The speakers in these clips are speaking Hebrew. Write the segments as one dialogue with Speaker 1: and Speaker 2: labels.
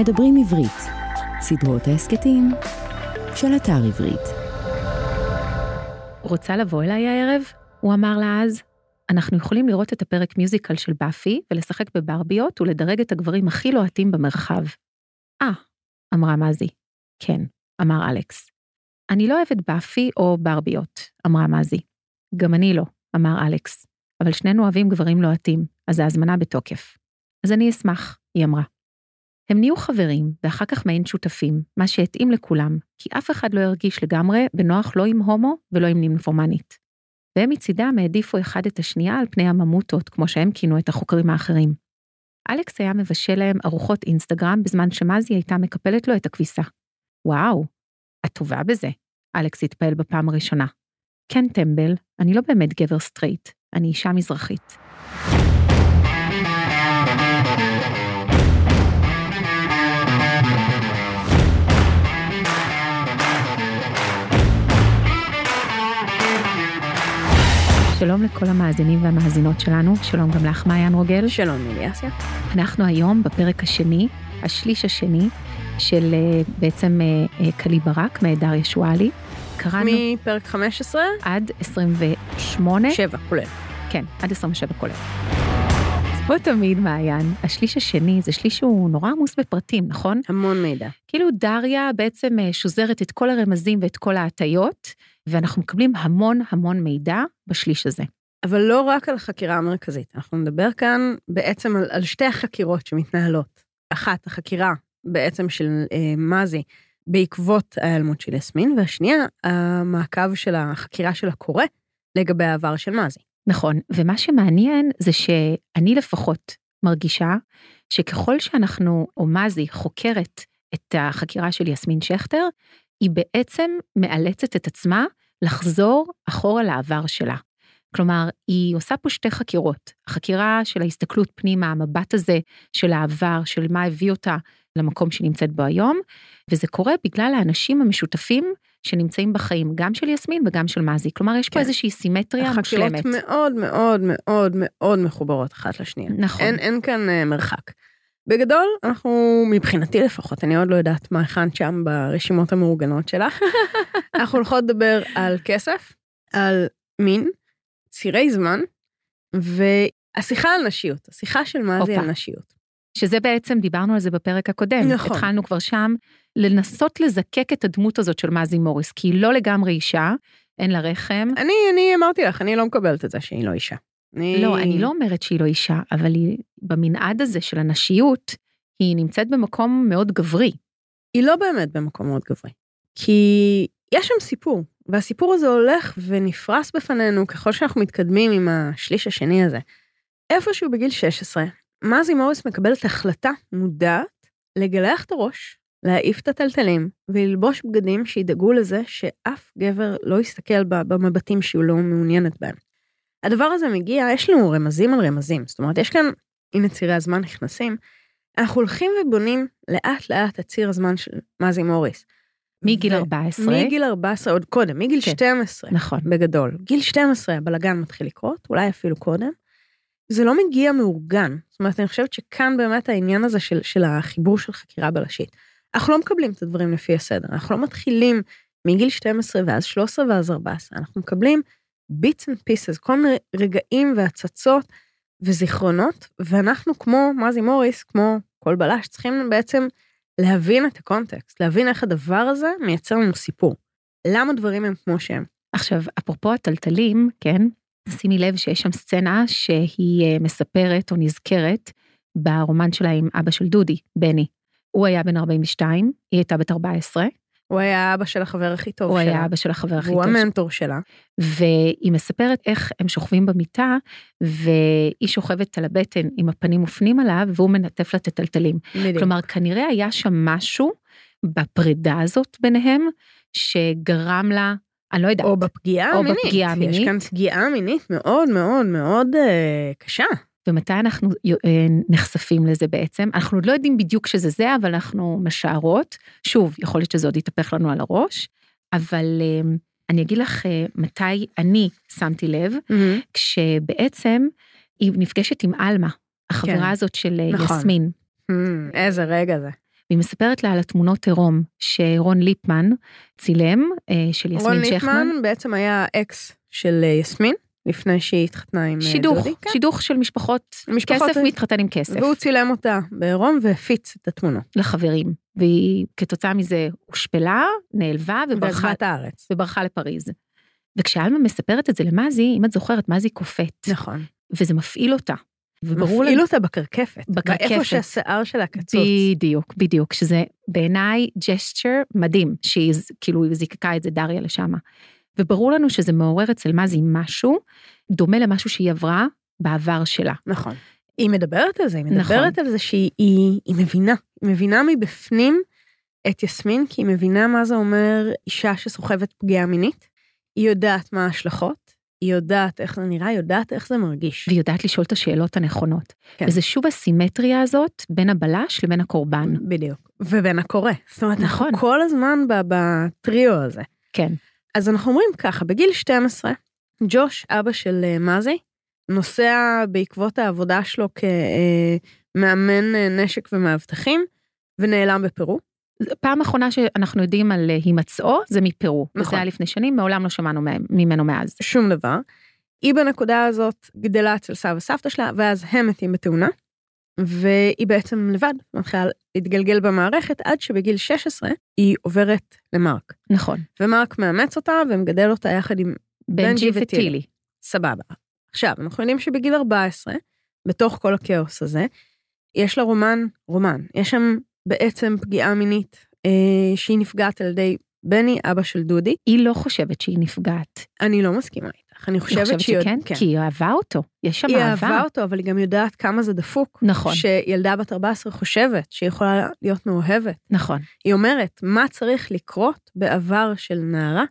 Speaker 1: מדברים עברית, סדרות ההסכתים של אתר עברית.
Speaker 2: רוצה לבוא אליי הערב? הוא אמר לה אז. אנחנו יכולים לראות את הפרק מיוזיקל של באפי ולשחק בברביות ולדרג את הגברים הכי לוהטים במרחב. אה, אמרה מזי. כן, אמר אלכס. אני לא אוהבת באפי או ברביות, אמרה מזי. גם אני לא, אמר אלכס. אבל שנינו אוהבים גברים לוהטים, אז ההזמנה בתוקף. אז אני אשמח, היא אמרה. הם נהיו חברים, ואחר כך מעין שותפים, מה שהתאים לכולם, כי אף אחד לא הרגיש לגמרי בנוח לא עם הומו ולא עם נימפומנית. והם מצידם העדיפו אחד את השנייה על פני הממוטות, כמו שהם כינו את החוקרים האחרים. אלכס היה מבשל להם ארוחות אינסטגרם בזמן שמזי הייתה מקפלת לו את הכביסה. וואו, את טובה בזה, אלכס התפעל בפעם הראשונה. כן, טמבל, אני לא באמת גבר סטרייט, אני אישה מזרחית. שלום לכל המאזינים והמאזינות שלנו, שלום גם לך, מעיין רוגל.
Speaker 3: שלום, אליאסיה.
Speaker 2: אנחנו היום בפרק השני, השליש השני, של אה, בעצם אה, אה, קלי ברק, מהדר ישועלי. קראנו מ...
Speaker 3: מפרק 15,
Speaker 2: עד 28, ש...
Speaker 3: 7 כולל.
Speaker 2: כן, עד 27 כולל. אז כמו תמיד, מעיין, השליש השני זה שליש שהוא נורא עמוס בפרטים, נכון?
Speaker 3: המון מידע.
Speaker 2: כאילו דריה בעצם אה, שוזרת את כל הרמזים ואת כל ההטיות, ואנחנו מקבלים המון המון מידע בשליש הזה.
Speaker 3: אבל לא רק על החקירה המרכזית, אנחנו נדבר כאן בעצם על, על שתי החקירות שמתנהלות. אחת, החקירה בעצם של אה, מזי בעקבות ההיעלמות של יסמין, והשנייה, המעקב של החקירה של הקורא לגבי העבר של מזי.
Speaker 2: נכון, ומה שמעניין זה שאני לפחות מרגישה שככל שאנחנו, או מזי, חוקרת את החקירה של יסמין שכטר, היא בעצם מאלצת את עצמה לחזור אחורה לעבר שלה. כלומר, היא עושה פה שתי חקירות. החקירה של ההסתכלות פנימה, המבט הזה של העבר, של מה הביא אותה למקום שהיא נמצאת בו היום, וזה קורה בגלל האנשים המשותפים שנמצאים בחיים, גם של יסמין וגם של מזי. כלומר, יש פה
Speaker 3: כן.
Speaker 2: איזושהי סימטריה
Speaker 3: החקירות
Speaker 2: מושלמת.
Speaker 3: מאוד מאוד מאוד מאוד מחוברות אחת לשנייה.
Speaker 2: נכון.
Speaker 3: אין, אין כאן אה, מרחק. בגדול, אנחנו, מבחינתי לפחות, אני עוד לא יודעת מה הכנת שם ברשימות המאורגנות שלך, אנחנו הולכות לדבר על כסף, על מין, צירי זמן, והשיחה על נשיות, השיחה של מה זה
Speaker 2: הופה.
Speaker 3: על נשיות.
Speaker 2: שזה בעצם, דיברנו על זה בפרק הקודם.
Speaker 3: נכון.
Speaker 2: התחלנו כבר שם, לנסות לזקק את הדמות הזאת של מזי מוריס, כי היא לא לגמרי אישה, אין לה רחם.
Speaker 3: אני, אני אמרתי לך, אני לא מקבלת את זה שהיא לא אישה. אני...
Speaker 2: לא, אני לא אומרת שהיא לא אישה, אבל היא, במנעד הזה של הנשיות, היא נמצאת במקום מאוד גברי.
Speaker 3: היא לא באמת במקום מאוד גברי. כי יש שם סיפור, והסיפור הזה הולך ונפרס בפנינו ככל שאנחנו מתקדמים עם השליש השני הזה. איפשהו בגיל 16, מזי מוריס מקבלת החלטה מודעת לגלח את הראש, להעיף את הטלטלים וללבוש בגדים שידאגו לזה שאף גבר לא יסתכל בה במבטים שהיא לא מעוניינת בהם. הדבר הזה מגיע, יש לנו רמזים על רמזים, זאת אומרת, יש כאן, הנה צירי הזמן נכנסים, אנחנו הולכים ובונים לאט לאט את ציר הזמן של מזי מוריס.
Speaker 2: מגיל
Speaker 3: ו-
Speaker 2: 14.
Speaker 3: מגיל 14, עוד קודם, מגיל
Speaker 2: כן.
Speaker 3: 12,
Speaker 2: נכון.
Speaker 3: בגדול. גיל 12 הבלגן מתחיל לקרות, אולי אפילו קודם. זה לא מגיע מאורגן. זאת אומרת, אני חושבת שכאן באמת העניין הזה של, של החיבור של חקירה בלשית. אנחנו לא מקבלים את הדברים לפי הסדר, אנחנו לא מתחילים מגיל 12 ואז 13 ואז 14, אנחנו מקבלים bits and pieces, כל מיני רגעים והצצות וזיכרונות, ואנחנו כמו מזי מוריס, כמו כל בלש, צריכים בעצם להבין את הקונטקסט, להבין איך הדבר הזה מייצר לנו סיפור. למה דברים הם כמו שהם?
Speaker 2: עכשיו, אפרופו הטלטלים, כן, שימי לב שיש שם סצנה שהיא אה, מספרת או נזכרת ברומן שלה עם אבא של דודי, בני. הוא היה בן 42, היא הייתה בת 14,
Speaker 3: הוא היה האבא של החבר הכי טוב
Speaker 2: הוא
Speaker 3: שלה.
Speaker 2: היה אבא של החבר הכי
Speaker 3: והוא
Speaker 2: טוב שלה.
Speaker 3: המנטור שלה.
Speaker 2: והיא מספרת איך הם שוכבים במיטה, והיא שוכבת על הבטן עם הפנים מופנים עליו, והוא מנטף לה את הטלטלים.
Speaker 3: בדיוק.
Speaker 2: כלומר, כנראה היה שם משהו בפרידה הזאת ביניהם, שגרם לה, אני לא יודעת.
Speaker 3: או בפגיעה
Speaker 2: או
Speaker 3: המינית.
Speaker 2: בפגיעה
Speaker 3: יש כאן
Speaker 2: המינית.
Speaker 3: פגיעה מינית מאוד מאוד מאוד אה, קשה.
Speaker 2: ומתי אנחנו אה, נחשפים לזה בעצם? אנחנו עוד לא יודעים בדיוק שזה זה, אבל אנחנו משערות. שוב, יכול להיות שזה עוד יתהפך לנו על הראש, אבל אה, אני אגיד לך אה, מתי אני שמתי לב, כשבעצם היא נפגשת עם עלמה, החברה
Speaker 3: כן.
Speaker 2: הזאת של אה,
Speaker 3: נכון.
Speaker 2: יסמין.
Speaker 3: Hmm, איזה רגע זה.
Speaker 2: והיא מספרת לה על התמונות עירום שרון ליפמן צילם, אה, של
Speaker 3: רון
Speaker 2: יסמין שכמן.
Speaker 3: ליפמן בעצם היה אקס של אה, יסמין, לפני שהיא התחתנה עם אה,
Speaker 2: שידוך,
Speaker 3: דודי. כן.
Speaker 2: שידוך של משפחות,
Speaker 3: משפחות-
Speaker 2: כסף מתחתן עם כסף
Speaker 3: והוא צילם אותה בעירום והפיץ את התמונות.
Speaker 2: לחברים, והיא כתוצאה מזה הושפלה, נעלבה וברחה,
Speaker 3: ועזבה את הארץ.
Speaker 2: וברחה לפריז. וכשאלמה מספרת את זה למזי, אם את זוכרת, מזי קופאת,
Speaker 3: נכון.
Speaker 2: וזה מפעיל אותה. וברור
Speaker 3: מפעיל
Speaker 2: לנו-
Speaker 3: אותה בקרקפת.
Speaker 2: בקרקפת.
Speaker 3: איפה שהשיער שלה קצוץ.
Speaker 2: בדיוק, בדיוק, שזה בעיניי ג'סטר מדהים, שהיא ז- כאילו זיקקה את זה דריה לשם. וברור לנו שזה מעורר אצל מזי משהו דומה למשהו שהיא עברה בעבר שלה.
Speaker 3: נכון. היא מדברת על זה, היא
Speaker 2: נכון.
Speaker 3: מדברת על זה שהיא היא, היא מבינה. היא מבינה מבפנים את יסמין, כי היא מבינה מה זה אומר אישה שסוחבת פגיעה מינית. היא יודעת מה ההשלכות, היא יודעת איך זה נראה, היא יודעת איך זה מרגיש.
Speaker 2: והיא יודעת לשאול את השאלות הנכונות.
Speaker 3: כן.
Speaker 2: כן. וזה שוב הסימטריה הזאת בין הבלש לבין הקורבן.
Speaker 3: בדיוק. ובין הקורא. זאת אומרת, אנחנו
Speaker 2: נכון.
Speaker 3: כל הזמן ב- בטריו הזה.
Speaker 2: כן.
Speaker 3: אז אנחנו אומרים ככה, בגיל 12, ג'וש, אבא של אה, מזי, נוסע בעקבות העבודה שלו כמאמן אה, נשק ומאבטחים, ונעלם בפרו.
Speaker 2: פעם אחרונה שאנחנו יודעים על אה, הימצאו זה מפרו. נכון.
Speaker 3: נכון.
Speaker 2: וזה היה לפני שנים, מעולם לא שמענו מהם- ממנו מאז.
Speaker 3: שום דבר. היא בנקודה הזאת גדלה אצל סבא וסבתא שלה, ואז הם מתים בתאונה, והיא בעצם לבד מתחילה להתגלגל במערכת, עד שבגיל 16 היא עוברת למרק.
Speaker 2: נכון.
Speaker 3: ומרק מאמץ אותה ומגדל אותה יחד עם בנג'י
Speaker 2: בנג'י
Speaker 3: וטילי.
Speaker 2: וטילי.
Speaker 3: סבבה. עכשיו, אנחנו יודעים שבגיל 14, בתוך כל הכאוס הזה, יש לה רומן, רומן. יש שם בעצם פגיעה מינית אה, שהיא נפגעת על ידי בני, אבא של דודי.
Speaker 2: היא לא חושבת שהיא נפגעת.
Speaker 3: אני לא מסכימה איתך, אני
Speaker 2: היא
Speaker 3: חושבת,
Speaker 2: חושבת
Speaker 3: עוד- כן.
Speaker 2: שכן, כי היא אהבה אותו. יש שם
Speaker 3: היא
Speaker 2: אהבה.
Speaker 3: אהבה אותו, אבל היא גם יודעת כמה זה דפוק.
Speaker 2: נכון.
Speaker 3: שילדה בת 14 חושבת שהיא יכולה להיות מאוהבת.
Speaker 2: נכון.
Speaker 3: היא אומרת, מה צריך לקרות בעבר של נערה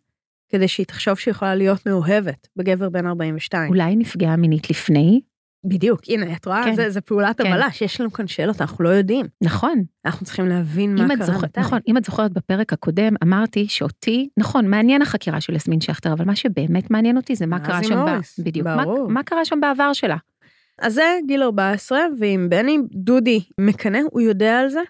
Speaker 3: כדי שהיא תחשוב שהיא יכולה להיות מאוהבת בגבר בן 42?
Speaker 2: אולי היא נפגעה מינית לפני?
Speaker 3: בדיוק, הנה, את רואה?
Speaker 2: כן.
Speaker 3: זה, זה פעולת
Speaker 2: כן.
Speaker 3: הבלש, יש לנו כאן שאלות, אנחנו לא יודעים.
Speaker 2: נכון.
Speaker 3: אנחנו צריכים להבין מה
Speaker 2: אם את
Speaker 3: קרה.
Speaker 2: זוכרת,
Speaker 3: מתי.
Speaker 2: נכון, אם את זוכרת בפרק הקודם, אמרתי שאותי, נכון, מעניין החקירה של יסמין שכטר, אבל מה שבאמת מעניין אותי זה מה
Speaker 3: מה
Speaker 2: קרה
Speaker 3: זה
Speaker 2: שם, ב-
Speaker 3: מוריס?
Speaker 2: בדיוק, מה-
Speaker 3: ברור.
Speaker 2: מה קרה שם בעבר שלה.
Speaker 3: אז זה גיל 14, ואם בני דודי מקנא, הוא יודע על זה.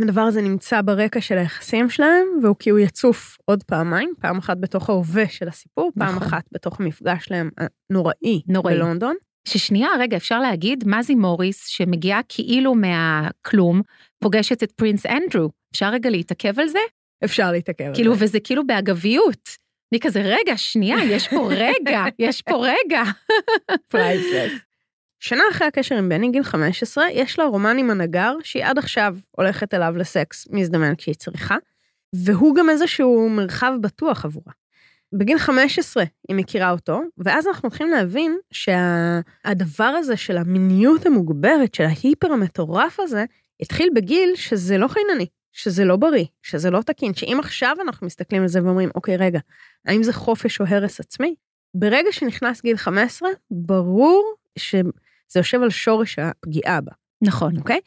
Speaker 3: הדבר הזה נמצא ברקע של היחסים שלהם, והוא כי הוא יצוף עוד פעמיים, פעם אחת בתוך ההווה של הסיפור, פעם
Speaker 2: נכון.
Speaker 3: אחת בתוך המפגש שלהם הנוראי
Speaker 2: נוראי.
Speaker 3: בלונדון.
Speaker 2: ששנייה, רגע, אפשר להגיד, מזי מוריס, שמגיעה כאילו מהכלום, פוגשת את פרינס אנדרו. אפשר רגע להתעכב על זה?
Speaker 3: אפשר להתעכב על
Speaker 2: כאילו,
Speaker 3: זה.
Speaker 2: וזה כאילו באגביות. אני כזה, רגע, שנייה, יש פה רגע, יש פה רגע.
Speaker 3: פרייסלס. שנה אחרי הקשר עם בני, גיל 15, יש לה רומן עם הנגר, שהיא עד עכשיו הולכת אליו לסקס מזדמן כשהיא צריכה, והוא גם איזשהו מרחב בטוח עבורה. בגיל 15 היא מכירה אותו, ואז אנחנו מתחילים להבין שהדבר הזה של המיניות המוגברת, של ההיפר המטורף הזה, התחיל בגיל שזה לא חינני, שזה לא בריא, שזה לא תקין, שאם עכשיו אנחנו מסתכלים על זה ואומרים, אוקיי, רגע, האם זה חופש או הרס עצמי? ברגע שנכנס גיל 15, ברור שזה יושב על שורש הפגיעה בה,
Speaker 2: נכון,
Speaker 3: אוקיי?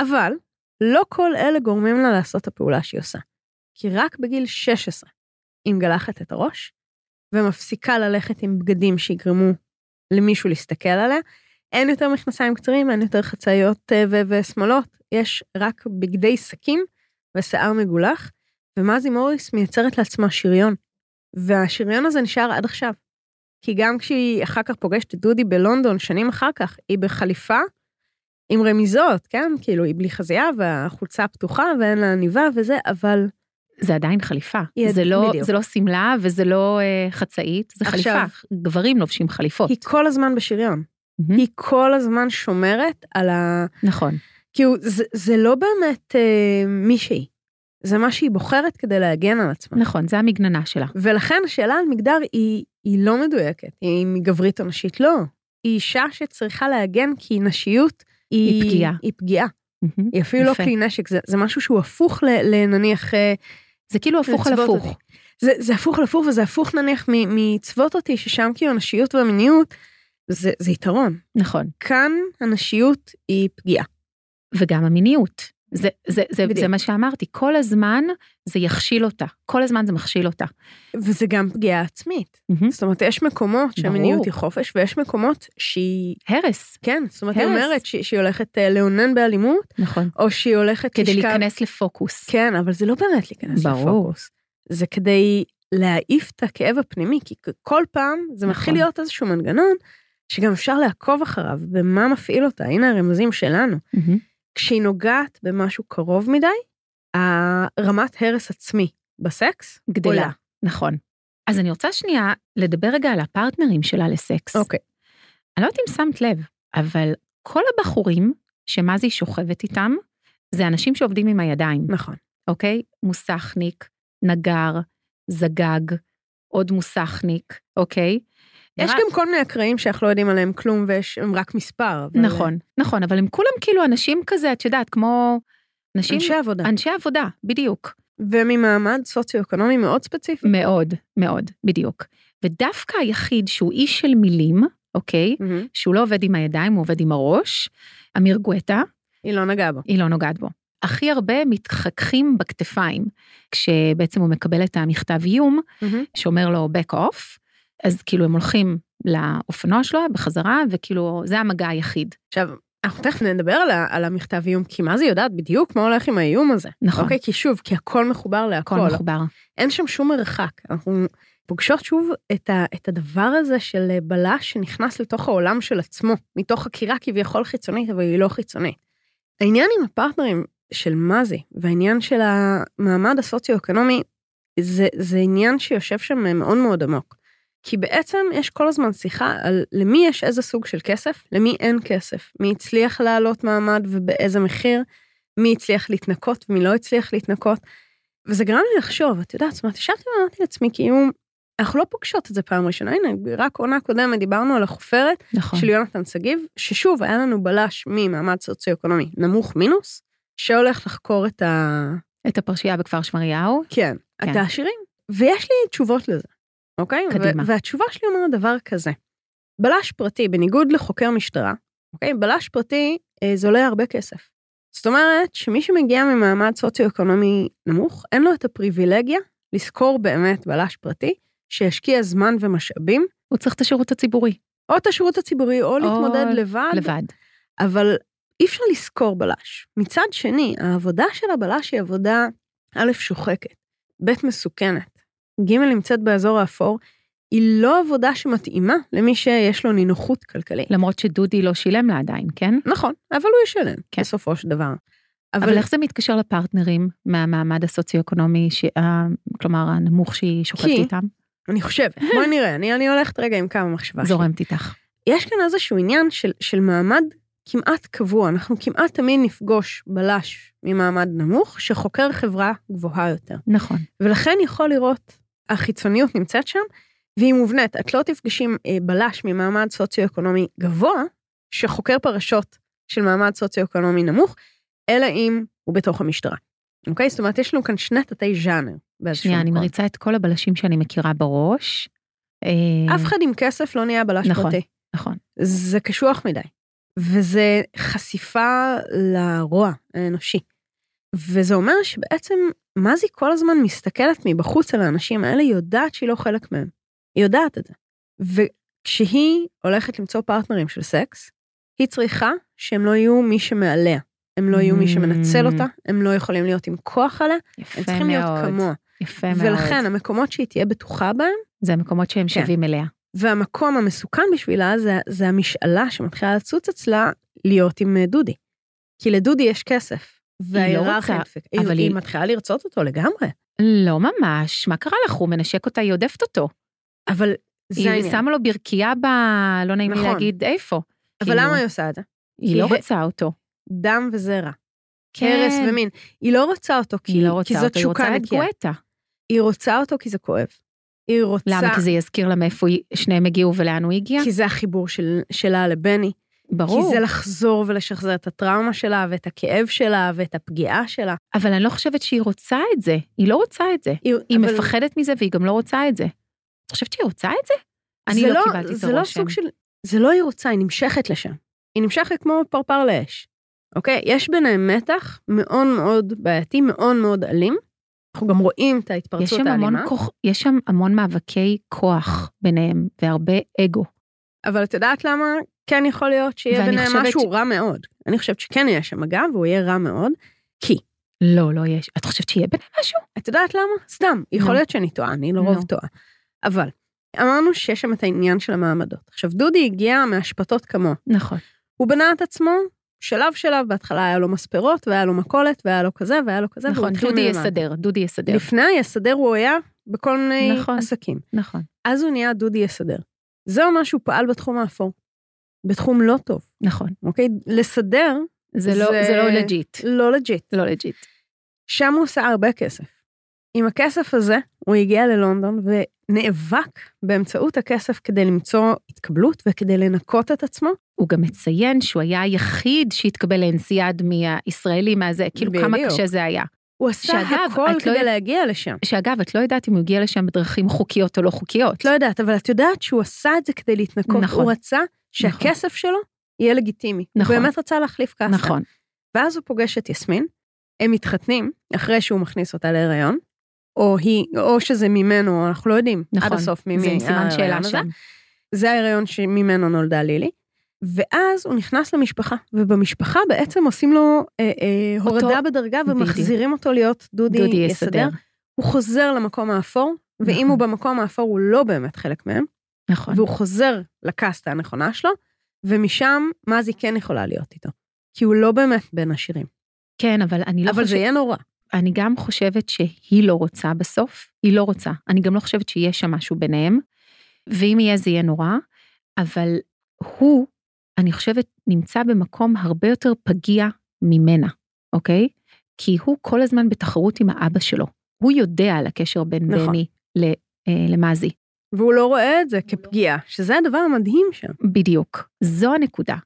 Speaker 3: אבל לא כל אלה גורמים לה לעשות את הפעולה שהיא עושה. כי רק בגיל 16 היא מגלחת את הראש, ומפסיקה ללכת עם בגדים שיגרמו למישהו להסתכל עליה. אין יותר מכנסיים קצרים, אין יותר חצאיות אה, ו- ושמאלות, יש רק בגדי שקים ושיער מגולח, ומזי מוריס מייצרת לעצמה שריון. והשריון הזה נשאר עד עכשיו. כי גם כשהיא אחר כך פוגשת את דודי בלונדון שנים אחר כך, היא בחליפה עם רמיזות, כן? כאילו, היא בלי חזייה והחולצה פתוחה ואין לה עניבה וזה, אבל
Speaker 2: זה עדיין חליפה.
Speaker 3: היא-
Speaker 2: זה לא-
Speaker 3: בדיוק.
Speaker 2: זה לא שמלה וזה לא אה, חצאית, זה
Speaker 3: עכשיו-
Speaker 2: חליפה. גברים לובשים חליפות.
Speaker 3: היא כל הזמן בשריון.
Speaker 2: מהמם.
Speaker 3: היא כל הזמן שומרת על ה...
Speaker 2: נכון,
Speaker 3: כאילו, זה, זה לא באמת אה, מי שהיא. זה מה שהיא בוחרת כדי להגן על עצמה.
Speaker 2: נכון, זה המגננה שלה.
Speaker 3: ולכן השאלה על מגדר היא, היא לא מדויקת. היא גברית או נשית? לא. היא אישה שצריכה להגן כי נשיות היא,
Speaker 2: היא פגיעה.
Speaker 3: היא פגיעה.
Speaker 2: מהמם.
Speaker 3: היא אפילו
Speaker 2: יפה.
Speaker 3: לא כלי נשק, זה, זה משהו שהוא הפוך ל- לנניח... אה,
Speaker 2: זה כאילו הפוך על
Speaker 3: לצוות
Speaker 2: הפוך.
Speaker 3: אותי. זה, זה הפוך על הפוך, וזה הפוך נניח מ- מצוות אותי, ששם כאילו הנשיות והמיניות, זה, זה יתרון.
Speaker 2: נכון,
Speaker 3: כאן הנשיות היא פגיעה.
Speaker 2: וגם המיניות. זה, זה, זה,
Speaker 3: בדיוק.
Speaker 2: זה מה שאמרתי, כל הזמן זה יכשיל אותה, כל הזמן זה מכשיל אותה.
Speaker 3: וזה גם פגיעה עצמית. זאת אומרת, יש מקומות
Speaker 2: ברור.
Speaker 3: שהמיניות היא חופש, ויש מקומות שהיא...
Speaker 2: הרס,
Speaker 3: כן, זאת אומרת, היא
Speaker 2: הרס.
Speaker 3: אומרת שהיא שהיא הולכת אה, לאונן באלימות,
Speaker 2: נכון,
Speaker 3: או שהיא הולכת
Speaker 2: כדי
Speaker 3: לשכב-
Speaker 2: להיכנס לפוקוס.
Speaker 3: כן, אבל זה לא באמת להיכנס
Speaker 2: ברור.
Speaker 3: לפוקוס. זה כדי להעיף את הכאב הפנימי, כי כ- כל פעם זה מתחיל
Speaker 2: נכון.
Speaker 3: להיות איזשהו מנגנון שגם אפשר לעקוב אחריו, במה מפעיל אותה. הנה הרמזים שלנו.
Speaker 2: מהמם.
Speaker 3: כשהיא נוגעת במשהו קרוב מדי, הרמת הרס עצמי בסקס
Speaker 2: גדלה.
Speaker 3: עולה.
Speaker 2: נכון. אז אני רוצה שנייה לדבר רגע על הפרטנרים שלה לסקס.
Speaker 3: אוקיי.
Speaker 2: אני לא יודעת אם שמת לב, אבל כל הבחורים שמזי שוכבת איתם, זה אנשים שעובדים עם הידיים,
Speaker 3: נכון.
Speaker 2: אוקיי? מוסכניק, נגר, זגג, עוד מוסכניק, אוקיי?
Speaker 3: יש
Speaker 2: רק-
Speaker 3: גם כל מיני אקראים שאנחנו לא יודעים עליהם כלום ויש הם רק מספר. אבל- אה,
Speaker 2: נכון, נכון, אבל הם כולם כאילו אנשים כזה, את יודעת, כמו... אנשים...
Speaker 3: אנשי עבודה.
Speaker 2: אנשי עבודה, בדיוק.
Speaker 3: וממעמד סוציו-אקונומי מאוד ספציפי.
Speaker 2: מאוד, מאוד, בדיוק. ודווקא היחיד שהוא איש של מילים, אוקיי?
Speaker 3: מהמם.
Speaker 2: שהוא לא עובד עם הידיים, הוא עובד עם הראש, אמיר גואטה,
Speaker 3: היא לא נגעה בו.
Speaker 2: היא לא נוגעת בו. הכי הרבה מתחככים בכתפיים, כשבעצם הוא מקבל את המכתב איום, שאומר לו back off, אז כאילו הם הולכים לאופנוע שלו בחזרה, וכאילו זה המגע היחיד.
Speaker 3: עכשיו, אנחנו תכף נדבר על, ה- על המכתב איום, כי מה זה יודעת בדיוק מה הולך עם האיום הזה.
Speaker 2: נכון,
Speaker 3: אוקיי, כי שוב, כי הכל מחובר להכל.
Speaker 2: הכל מחובר.
Speaker 3: אין שם שום מרחק. אנחנו פוגשות שוב את, ה, את הדבר הזה של אה, בלש שנכנס לתוך העולם של עצמו, מתוך חקירה כביכול חיצונית, אבל היא לא חיצונית. העניין עם הפרטנרים של מה זה, והעניין של המעמד הסוציו-אקונומי, זה, זה עניין שיושב שם אה, מאוד מאוד עמוק. כי בעצם יש כל הזמן שיחה על למי יש איזה סוג של כסף, למי אין כסף, מי הצליח להעלות מעמד ובאיזה מחיר, מי הצליח להתנקות ומי לא הצליח להתנקות. וזה גרם לי לחשוב, את יודעת, זאת אומרת, ישבתי ואמרתי לעצמי, כאילו, אנחנו לא פוגשות את זה פעם ראשונה, הנה, רק עונה קודמת דיברנו על החופרת
Speaker 2: נכון,
Speaker 3: של יונתן שגיב, ששוב, היה לנו בלש ממעמד סוציו-אקונומי נמוך מינוס, שהולך לחקור את ה...
Speaker 2: את הפרשייה בכפר שמריהו,
Speaker 3: כן,
Speaker 2: כן.
Speaker 3: את העשירים. ויש לי תשובות לזה, אוקיי?
Speaker 2: קדימה.
Speaker 3: ו- והתשובה שלי אומרת דבר כזה. בלש פרטי, בניגוד לחוקר משטרה, אוקיי? בלש פרטי אה, זה עולה הרבה כסף. זאת אומרת שמי שמגיע ממעמד סוציו-אקונומי נמוך, אין לו את הפריבילגיה לשכור באמת בלש פרטי, שישקיע זמן ומשאבים,
Speaker 2: הוא צריך את השירות הציבורי,
Speaker 3: או את השירות הציבורי, או, או להתמודד לבד,
Speaker 2: לבד.
Speaker 3: אבל אי אפשר לזכור בלש. מצד שני, העבודה של הבלש היא עבודה, א', שוחקת, ב', מסוכנת, ג', נמצאת באזור האפור, היא לא עבודה שמתאימה למי שיש לו נינוחות כלכלית.
Speaker 2: למרות שדודי לא שילם לה עדיין, כן?
Speaker 3: נכון, אבל הוא ישלם,
Speaker 2: כן.
Speaker 3: כן. בסופו של דבר. אבל,
Speaker 2: אבל איך זה מתקשר לפרטנרים מהמעמד הסוציו-אקונומי, ש... ה- כלומר הנמוך שהיא שוכבת
Speaker 3: כי-
Speaker 2: איתם?
Speaker 3: אני חושבת, בואי נראה, אני, אני הולכת רגע עם כמה מחשבה שלי.
Speaker 2: זורמת איתך.
Speaker 3: יש כאן איזשהו עניין של, של מעמד כמעט קבוע, אנחנו כמעט תמיד נפגוש בלש ממעמד נמוך שחוקר חברה גבוהה יותר.
Speaker 2: נכון,
Speaker 3: ולכן יכול לראות, החיצוניות נמצאת שם, והיא מובנית. את לא תפגשי עם אה, בלש ממעמד סוציו-אקונומי גבוה, שחוקר פרשות של מעמד סוציו-אקונומי נמוך, אלא אם הוא בתוך המשטרה. אוקיי? זאת אומרת, יש לנו כאן שני תתי ז'אנר. באיזשהו
Speaker 2: שנייה, אני
Speaker 3: מקום.
Speaker 2: מריצה את כל הבלשים שאני מכירה בראש. אה,
Speaker 3: אף אחד עם כסף לא נהיה בלש
Speaker 2: נכון.
Speaker 3: פרטי.
Speaker 2: נכון,
Speaker 3: זה קשוח מדי. וזה חשיפה לרוע האנושי. וזה אומר שבעצם מזי כל הזמן מסתכלת מבחוץ על האנשים האלה, היא יודעת שהיא לא חלק מהם. היא יודעת את זה. וכשהיא הולכת למצוא פרטנרים של סקס, היא צריכה שהם לא יהיו מי שמעליה. הם לא יהיו מי שמנצל אותה, הם לא יכולים להיות עם כוח עליה,
Speaker 2: Mm. יפה
Speaker 3: הם צריכים להיות
Speaker 2: מאוד,
Speaker 3: כמוה.
Speaker 2: יפה מאוד.
Speaker 3: ולכן כן. המקומות שהיא תהיה בטוחה בהם,
Speaker 2: זה המקומות שהם שווים אליה.
Speaker 3: והמקום המסוכן בשבילה זה, זה המשאלה שמתחילה לצוץ אצלה להיות עם אה, דודי. כי לדודי יש כסף. וההיררכיה
Speaker 2: לא רוצה,
Speaker 3: דופקת. היא,
Speaker 2: אבל
Speaker 3: היא
Speaker 2: היא-
Speaker 3: מתחילה לרצות אותו לגמרי.
Speaker 2: לא ממש, מה קרה לך? הוא מנשק אותה, היא עודפת אותו.
Speaker 3: אבל זה
Speaker 2: היא
Speaker 3: העניין.
Speaker 2: שמה לו ברכייה ב... לא נעים לי
Speaker 3: נכון.
Speaker 2: להגיד איפה.
Speaker 3: אבל
Speaker 2: כאילו,
Speaker 3: למה היא עושה את זה?
Speaker 2: היא לא
Speaker 3: כי-
Speaker 2: רוצה אותו.
Speaker 3: דם וזרע, הרס ומין. היא לא רוצה אותו כי,
Speaker 2: כן. היא לא רוצה
Speaker 3: כי זאת
Speaker 2: אותו, היא
Speaker 3: שוקה
Speaker 2: רוצה את
Speaker 3: נקייה.
Speaker 2: גואטה.
Speaker 3: היא רוצה אותו כי זה כואב. היא רוצה...
Speaker 2: למה? כי זה יזכיר לה מאיפה היא- שניהם הגיעו ולאן הוא הגיע?
Speaker 3: כי זה החיבור של, שלה לבני.
Speaker 2: ברור.
Speaker 3: כי זה לחזור ולשחזר את הטראומה שלה, ואת הכאב שלה, ואת הפגיעה שלה.
Speaker 2: אבל אני לא חושבת שהיא רוצה את זה. היא לא רוצה את זה. היא
Speaker 3: אבל-
Speaker 2: מפחדת מזה והיא גם לא רוצה את זה. את חושבת שהיא רוצה את זה? אני
Speaker 3: זה
Speaker 2: לא קיבלתי את
Speaker 3: זה לא
Speaker 2: הרושם.
Speaker 3: סוג של... זה לא היא רוצה, היא נמשכת לשם. היא נמשכת כמו פרפר לאש. אוקיי? יש ביניהם מתח מאוד מאוד בעייתי, מאוד מאוד אלים. אנחנו גם רואים את
Speaker 2: יש
Speaker 3: ההתפרצות
Speaker 2: שם, המון
Speaker 3: האלימה.
Speaker 2: כוח, יש שם המון מאבקי כוח ביניהם, והרבה אגו.
Speaker 3: אבל את יודעת למה כן יכול להיות שיהיה
Speaker 2: ואני
Speaker 3: ביניהם
Speaker 2: חושבת
Speaker 3: משהו
Speaker 2: ש-
Speaker 3: רע מאוד. אני חושבת שכן יהיה שם מגע, והוא יהיה רע מאוד, כי
Speaker 2: לא, לא יש. את חושבת שיהיה ביניהם משהו?
Speaker 3: את יודעת למה? סתם, יכול
Speaker 2: נו.
Speaker 3: להיות שאני טועה, אני לרוב
Speaker 2: נו.
Speaker 3: טועה. אבל אמרנו שיש שם את העניין של המעמדות. עכשיו, דודי הגיע מהשפתות כמוהו.
Speaker 2: נכון.
Speaker 3: הוא בנה את עצמו שלב שלב, בהתחלה היה לו מספרות, והיה לו מכולת, והיה לו כזה, והיה לו כזה, והוא
Speaker 2: נכון,
Speaker 3: התחיל
Speaker 2: דודי
Speaker 3: מלמטה.
Speaker 2: יסדר, דודי יסדר.
Speaker 3: לפני היסדר הוא היה בכל מיני
Speaker 2: נכון.
Speaker 3: עסקים.
Speaker 2: נכון,
Speaker 3: אז הוא נהיה דודי יסדר. זה אומר שהוא פעל בתחום האפור. בתחום לא טוב,
Speaker 2: נכון.
Speaker 3: אוקיי? לסדר
Speaker 2: זה לא-
Speaker 3: זה-
Speaker 2: זה לא לג'יט.
Speaker 3: לא לג'יט.
Speaker 2: לא לג'יט.
Speaker 3: שם הוא עושה הרבה כסף. עם הכסף הזה הוא הגיע ללונדון ונאבק באמצעות הכסף כדי למצוא התקבלות וכדי לנקות את עצמו.
Speaker 2: הוא גם מציין שהוא היה היחיד שהתקבל לאנסיאד מהישראלי, מהזה, כאילו כמה
Speaker 3: בדיוק.
Speaker 2: קשה זה היה.
Speaker 3: הוא עשה
Speaker 2: שאגב,
Speaker 3: הכל
Speaker 2: את
Speaker 3: כדי
Speaker 2: לא
Speaker 3: לא...
Speaker 2: יודעת-
Speaker 3: להגיע לשם.
Speaker 2: שאגב, את לא יודעת אם הוא הגיע לשם בדרכים חוקיות או לא חוקיות.
Speaker 3: את לא יודעת, אבל את יודעת שהוא עשה את זה כדי להתנקות.
Speaker 2: נכון.
Speaker 3: הוא רצה שהכסף שלו יהיה לגיטימי.
Speaker 2: נכון.
Speaker 3: הוא באמת רצה להחליף כסף.
Speaker 2: נכון,
Speaker 3: ואז הוא פוגש את יסמין, הם מתחתנים אחרי שהוא מכניס אותה להיריון, או, היא, או שזה ממנו, אנחנו לא יודעים
Speaker 2: נכון.
Speaker 3: עד הסוף ממי אה,
Speaker 2: זה עם סימן שאלה
Speaker 3: ההיריון הזה.
Speaker 2: שם.
Speaker 3: זה ההיריון שממנו נולדה לילי. ואז הוא נכנס למשפחה, ובמשפחה בעצם עושים לו אה, אה,
Speaker 2: אותו-
Speaker 3: הורדה בדרגה
Speaker 2: בדיוק.
Speaker 3: ומחזירים אותו להיות דודי,
Speaker 2: דודי
Speaker 3: יסדר.
Speaker 2: יסדר.
Speaker 3: הוא חוזר למקום האפור, ואם
Speaker 2: נכון.
Speaker 3: הוא במקום האפור הוא לא באמת חלק מהם,
Speaker 2: נכון.
Speaker 3: והוא חוזר לקאסטה הנכונה שלו, ומשם מזי כן יכולה להיות איתו. כי הוא לא באמת בין השירים.
Speaker 2: כן, אבל אני לא
Speaker 3: אבל זה
Speaker 2: חושבת...
Speaker 3: יהיה נורא.
Speaker 2: אני גם חושבת שהיא לא רוצה בסוף, היא לא רוצה. אני גם לא חושבת שיש שם משהו ביניהם, ואם יהיה זה יהיה נורא, אבל הוא, אני חושבת, נמצא במקום הרבה יותר פגיע ממנה, אוקיי? כי הוא כל הזמן בתחרות עם האבא שלו. הוא יודע על הקשר בין
Speaker 3: נכון.
Speaker 2: נכון. בני ל- אה, למזי.
Speaker 3: והוא לא רואה את זה כפגיעה, שזה הדבר המדהים שם.
Speaker 2: בדיוק. זו הנקודה,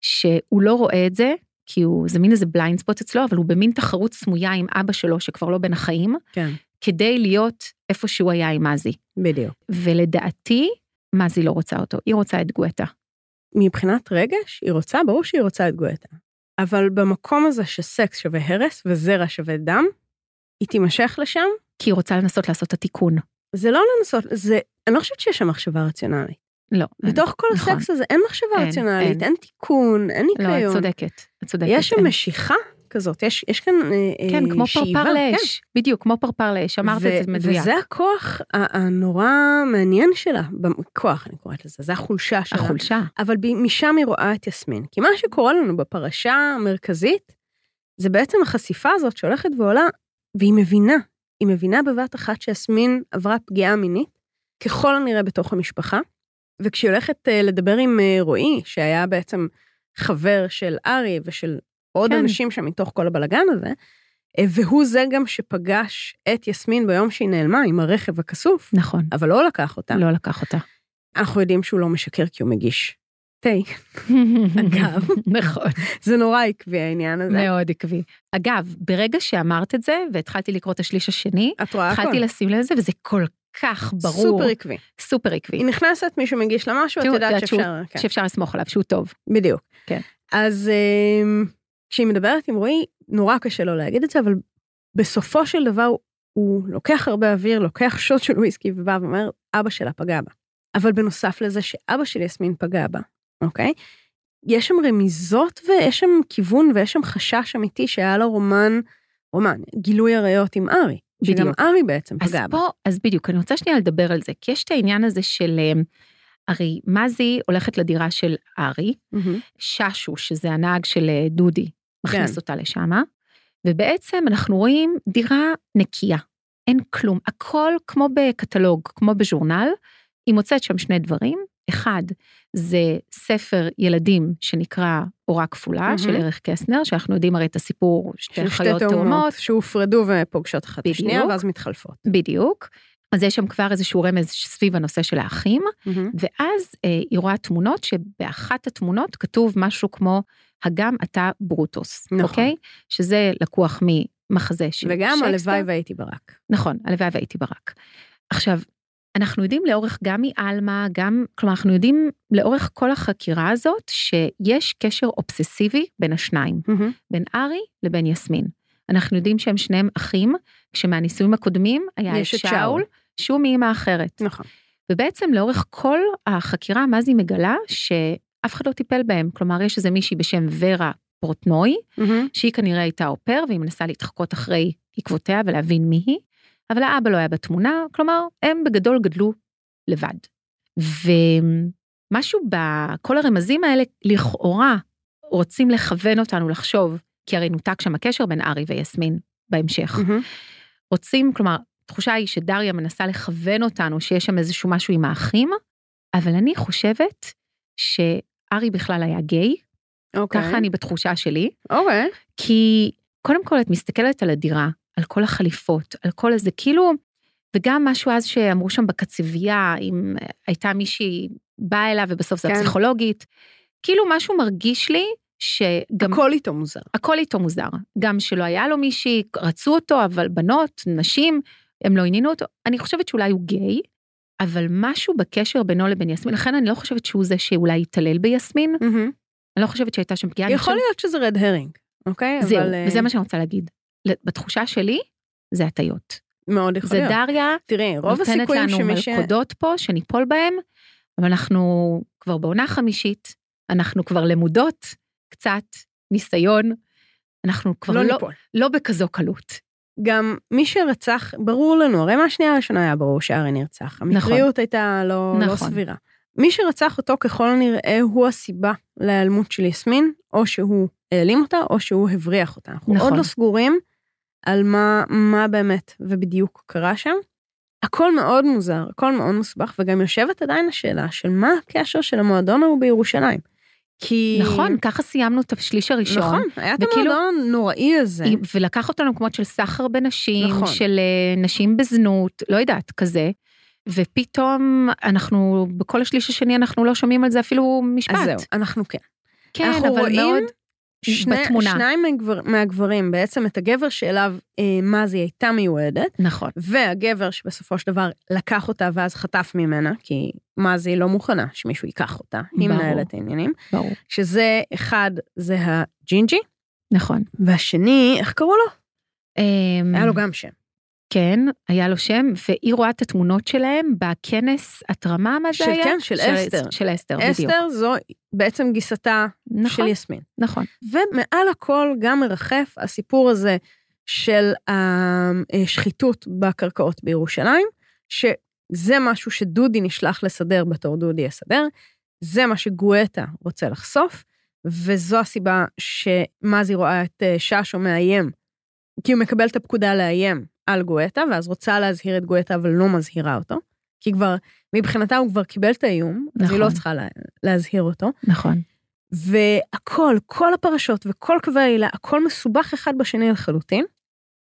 Speaker 2: שהוא לא רואה את זה, כי הוא, זה מין איזה בליינד ספוט אצלו, אבל הוא במין תחרות סמויה עם אבא שלו, שכבר לא בין החיים,
Speaker 3: כן.
Speaker 2: כדי להיות איפה שהוא היה עם מזי.
Speaker 3: בדיוק.
Speaker 2: ולדעתי, מזי לא רוצה אותו, היא רוצה את גואטה.
Speaker 3: מבחינת רגש, היא רוצה, ברור שהיא רוצה את גואטה. אבל במקום הזה שסקס שווה הרס וזרע שווה דם, היא תימשך לשם,
Speaker 2: כי היא רוצה לנסות לעשות את התיקון.
Speaker 3: זה לא לנסות, זה, אני לא חושבת שיש שם מחשבה רציונלית.
Speaker 2: לא, אני-
Speaker 3: בתוך כל
Speaker 2: נכון.
Speaker 3: הסקס הזה אין מחשבה
Speaker 2: אין,
Speaker 3: רציונלית,
Speaker 2: אין.
Speaker 3: אין תיקון, אין
Speaker 2: לא, את
Speaker 3: ניקיון.
Speaker 2: צודקת, את צודקת.
Speaker 3: יש שם
Speaker 2: אין.
Speaker 3: משיכה כזאת, יש יש כאן אה, אה,
Speaker 2: כן, כמו
Speaker 3: שאיבה,
Speaker 2: פרפר
Speaker 3: כן.
Speaker 2: לאש, בדיוק, כמו פרפר לאש, אמרת
Speaker 3: ו-
Speaker 2: את זה מדויק.
Speaker 3: וזה הכוח ה- הנורא מעניין שלה, במ- כוח אני קוראת לזה, זה החולשה שלה.
Speaker 2: החולשה,
Speaker 3: אבל ב- משם היא רואה את יסמין. כי מה שקורה לנו בפרשה המרכזית, זה בעצם החשיפה הזאת שהולכת ועולה, והיא מבינה, היא מבינה בבת אחת שיסמין עברה פגיעה מינית, ככל הנראה בתוך המשפחה, וכשהיא הולכת אה, לדבר עם אה, רועי, שהיה בעצם חבר של ארי ושל עוד
Speaker 2: כן.
Speaker 3: אנשים שם מתוך כל הבלגן הזה, אה, והוא זה גם שפגש את יסמין ביום שהיא נעלמה עם הרכב הכסוף,
Speaker 2: נכון,
Speaker 3: אבל לא לקח אותה.
Speaker 2: לא לקח אותה.
Speaker 3: אנחנו יודעים שהוא לא משקר כי הוא מגיש תה. אגב.
Speaker 2: נכון,
Speaker 3: זה נורא עקבי העניין הזה.
Speaker 2: מאוד עקבי. אגב, ברגע שאמרת את זה, והתחלתי לקרוא את השליש השני,
Speaker 3: את רואה הכל.
Speaker 2: התחלתי לשים לב לזה, וזה כל כך ברור,
Speaker 3: סופר עקבי.
Speaker 2: סופר עקבי,
Speaker 3: היא נכנסת, מישהו מגיש לה משהו, את
Speaker 2: תראו,
Speaker 3: יודעת
Speaker 2: יודעת שהוא-
Speaker 3: שאפשר... כן,
Speaker 2: שאפשר לסמוך עליו, שהוא טוב.
Speaker 3: בדיוק.
Speaker 2: כן.
Speaker 3: אז אמ, כשהיא מדברת עם רועי, נורא קשה לו להגיד את זה, אבל בסופו של דבר הוא לוקח הרבה אוויר, לוקח שוט של וויסקי ובא ואומר, אבא שלה פגע בה. אבל בנוסף לזה שאבא של יסמין פגע בה, אוקיי? יש שם רמיזות ויש שם כיוון ויש שם חשש אמיתי שהיה לו רומן, רומן, גילוי עריות עם ארי. שגם
Speaker 2: בדיוק.
Speaker 3: ארי בעצם
Speaker 2: אז
Speaker 3: פגע בה.
Speaker 2: פה, אז בדיוק, אני רוצה שנייה לדבר על זה, כי יש את העניין הזה של, אמ, הרי מזי הולכת לדירה של ארי,
Speaker 3: מהמם.
Speaker 2: ששו, שזה הנהג של אה, דודי, מכניס
Speaker 3: כן.
Speaker 2: אותה לשם, ובעצם אנחנו רואים דירה נקייה, אין כלום, הכל כמו בקטלוג, כמו בז'ורנל, היא מוצאת שם שני דברים, אחד, זה ספר ילדים שנקרא אורה כפולה,
Speaker 3: מהמם.
Speaker 2: של ערך קסנר, שאנחנו יודעים הרי את הסיפור, שתי
Speaker 3: של שתי
Speaker 2: חיות תאומות,
Speaker 3: שהופרדו ופוגשות אחת את
Speaker 2: בדיוק.
Speaker 3: השנייה ואז מתחלפות.
Speaker 2: בדיוק. אז יש שם כבר איזשהו רמז סביב הנושא של האחים, ואז אה, היא רואה תמונות שבאחת התמונות כתוב משהו כמו, הגם אתה ברוטוס,
Speaker 3: נכון.
Speaker 2: אוקיי? שזה לקוח ממחזה של
Speaker 3: וגם
Speaker 2: שייקספיר.
Speaker 3: הלוואי והייתי ברק.
Speaker 2: נכון, הלוואי והייתי ברק. עכשיו, אנחנו יודעים לאורך גם מעלמה, גם, כלומר, אנחנו יודעים לאורך כל החקירה הזאת שיש קשר אובססיבי בין השניים, בין ארי לבין יסמין. אנחנו יודעים שהם שניהם אחים, כשמהנישואים הקודמים היה את
Speaker 3: יש את שאול.
Speaker 2: שאול, שהוא מאימא אחרת.
Speaker 3: נכון.
Speaker 2: ובעצם לאורך כל החקירה מזי מגלה שאף אחד לא טיפל בהם. כלומר, יש איזה מישהי בשם ורה פורטנוי, שהיא כנראה הייתה au pair, והיא מנסה להתחקות אחרי עקבותיה ולהבין מי היא, אבל האבא לא היה בתמונה, כלומר, הם בגדול גדלו לבד. ומשהו בכל הרמזים האלה, לכאורה, רוצים לכוון אותנו לחשוב, כי הרי נותק שם הקשר בין ארי ויסמין בהמשך. רוצים, כלומר, התחושה היא שדריה מנסה לכוון אותנו שיש שם איזשהו משהו עם האחים, אבל אני חושבת שארי בכלל היה גיי,
Speaker 3: אוקיי.
Speaker 2: ככה אני בתחושה שלי,
Speaker 3: אוקיי.
Speaker 2: כי קודם כל את מסתכלת על הדירה, על כל החליפות, על כל איזה, כאילו, וגם משהו אז שאמרו שם בקצבייה, אם אה, הייתה מישהי באה אליו ובסוף זו
Speaker 3: כן.
Speaker 2: הפסיכולוגית, כאילו משהו מרגיש לי שגם
Speaker 3: הכל איתו מוזר.
Speaker 2: הכל איתו מוזר. גם שלא היה לו מישהי, רצו אותו, אבל בנות, נשים, הם לא עניינו אותו. אני חושבת שאולי הוא גיי, אבל משהו בקשר בינו לבין יסמין, לכן אני לא חושבת שהוא זה שאולי התעלל ביסמין, אני לא חושבת שהייתה שם פגיעה. אני
Speaker 3: יכול להיות שזה רד הרינג, אוקיי?
Speaker 2: חושבת- זהו,
Speaker 3: אבל, אה,
Speaker 2: וזה מה שאני רוצה להגיד. ל- בתחושה שלי, זה הטיות.
Speaker 3: מאוד יכול
Speaker 2: זה
Speaker 3: להיות.
Speaker 2: דריה
Speaker 3: תראי, רוב
Speaker 2: נותנת
Speaker 3: הסיכויים
Speaker 2: לנו
Speaker 3: שמי ש...
Speaker 2: מלכודות פה, שניפול בהם, אבל אנחנו כבר בעונה חמישית, אנחנו כבר למודות קצת ניסיון, אנחנו כבר
Speaker 3: לא
Speaker 2: לא,
Speaker 3: ניפול.
Speaker 2: לא בכזו קלות.
Speaker 3: גם מי שרצח, ברור לנו, הרי מהשנייה הראשונה היה ברור שארי נרצח. המקריות הייתה לא, לא
Speaker 2: נכון.
Speaker 3: סבירה. מי שרצח אותו ככל הנראה הוא הסיבה להיעלמות של יסמין, או שהוא העלים אותה, או שהוא הבריח אותה. אנחנו
Speaker 2: נכון.
Speaker 3: עוד לא סגורים על מה, מה באמת ובדיוק קרה שם. הכל מאוד מוזר, הכל מאוד מסובך, וגם יושבת עדיין השאלה של מה הקשר של המועדון ההוא בירושלים. כי...
Speaker 2: נכון, ככה סיימנו את השליש הראשון.
Speaker 3: נכון, היה את
Speaker 2: וכאילו-
Speaker 3: המועדון הנוראי הזה.
Speaker 2: היא- ולקח אותנו למקומות של סחר בנשים,
Speaker 3: נכון.
Speaker 2: של אה, נשים בזנות, לא יודעת, כזה. ופתאום אנחנו, בכל השליש השני אנחנו לא שומעים על זה אפילו משפט.
Speaker 3: אז זהו, אנחנו כן.
Speaker 2: כן,
Speaker 3: אנחנו
Speaker 2: אבל
Speaker 3: רואים
Speaker 2: מאוד
Speaker 3: שני,
Speaker 2: בתמונה.
Speaker 3: שניים מהגבר, מהגברים, בעצם את הגבר שאליו אה, מזי הייתה מיועדת,
Speaker 2: נכון,
Speaker 3: והגבר שבסופו של דבר לקח אותה ואז חטף ממנה, כי מזי לא מוכנה שמישהו ייקח אותה, היא
Speaker 2: ברור.
Speaker 3: מנהלת העניינים,
Speaker 2: ברור.
Speaker 3: שזה אחד, זה הג'ינג'י,
Speaker 2: נכון.
Speaker 3: והשני, איך קראו לו?
Speaker 2: אמ,
Speaker 3: היה לו גם שם.
Speaker 2: כן, היה לו שם, והיא רואה את התמונות שלהם בכנס התרמה, מה זה
Speaker 3: של-
Speaker 2: היה?
Speaker 3: כן, של אסתר.
Speaker 2: של אסתר, בדיוק.
Speaker 3: אסתר זו בעצם גיסתה
Speaker 2: נכון,
Speaker 3: של יסמין.
Speaker 2: נכון.
Speaker 3: ומעל הכל גם מרחף הסיפור הזה של השחיתות בקרקעות בירושלים, שזה משהו שדודי נשלח לסדר בתור דודי יסדר, זה מה שגואטה רוצה לחשוף, וזו הסיבה שמזי רואה את אה, ששו מאיים, כי הוא מקבל את הפקודה לאיים על גואטה, ואז רוצה להזהיר את גואטה, אבל לא מזהירה אותו, כי כבר, מבחינתה הוא כבר קיבל את האיום, אז היא
Speaker 2: נכון.
Speaker 3: לא צריכה לה, להזהיר אותו.
Speaker 2: נכון.
Speaker 3: והכל, כל הפרשות וכל קווי העילה, הכל מסובך אחד בשני לחלוטין.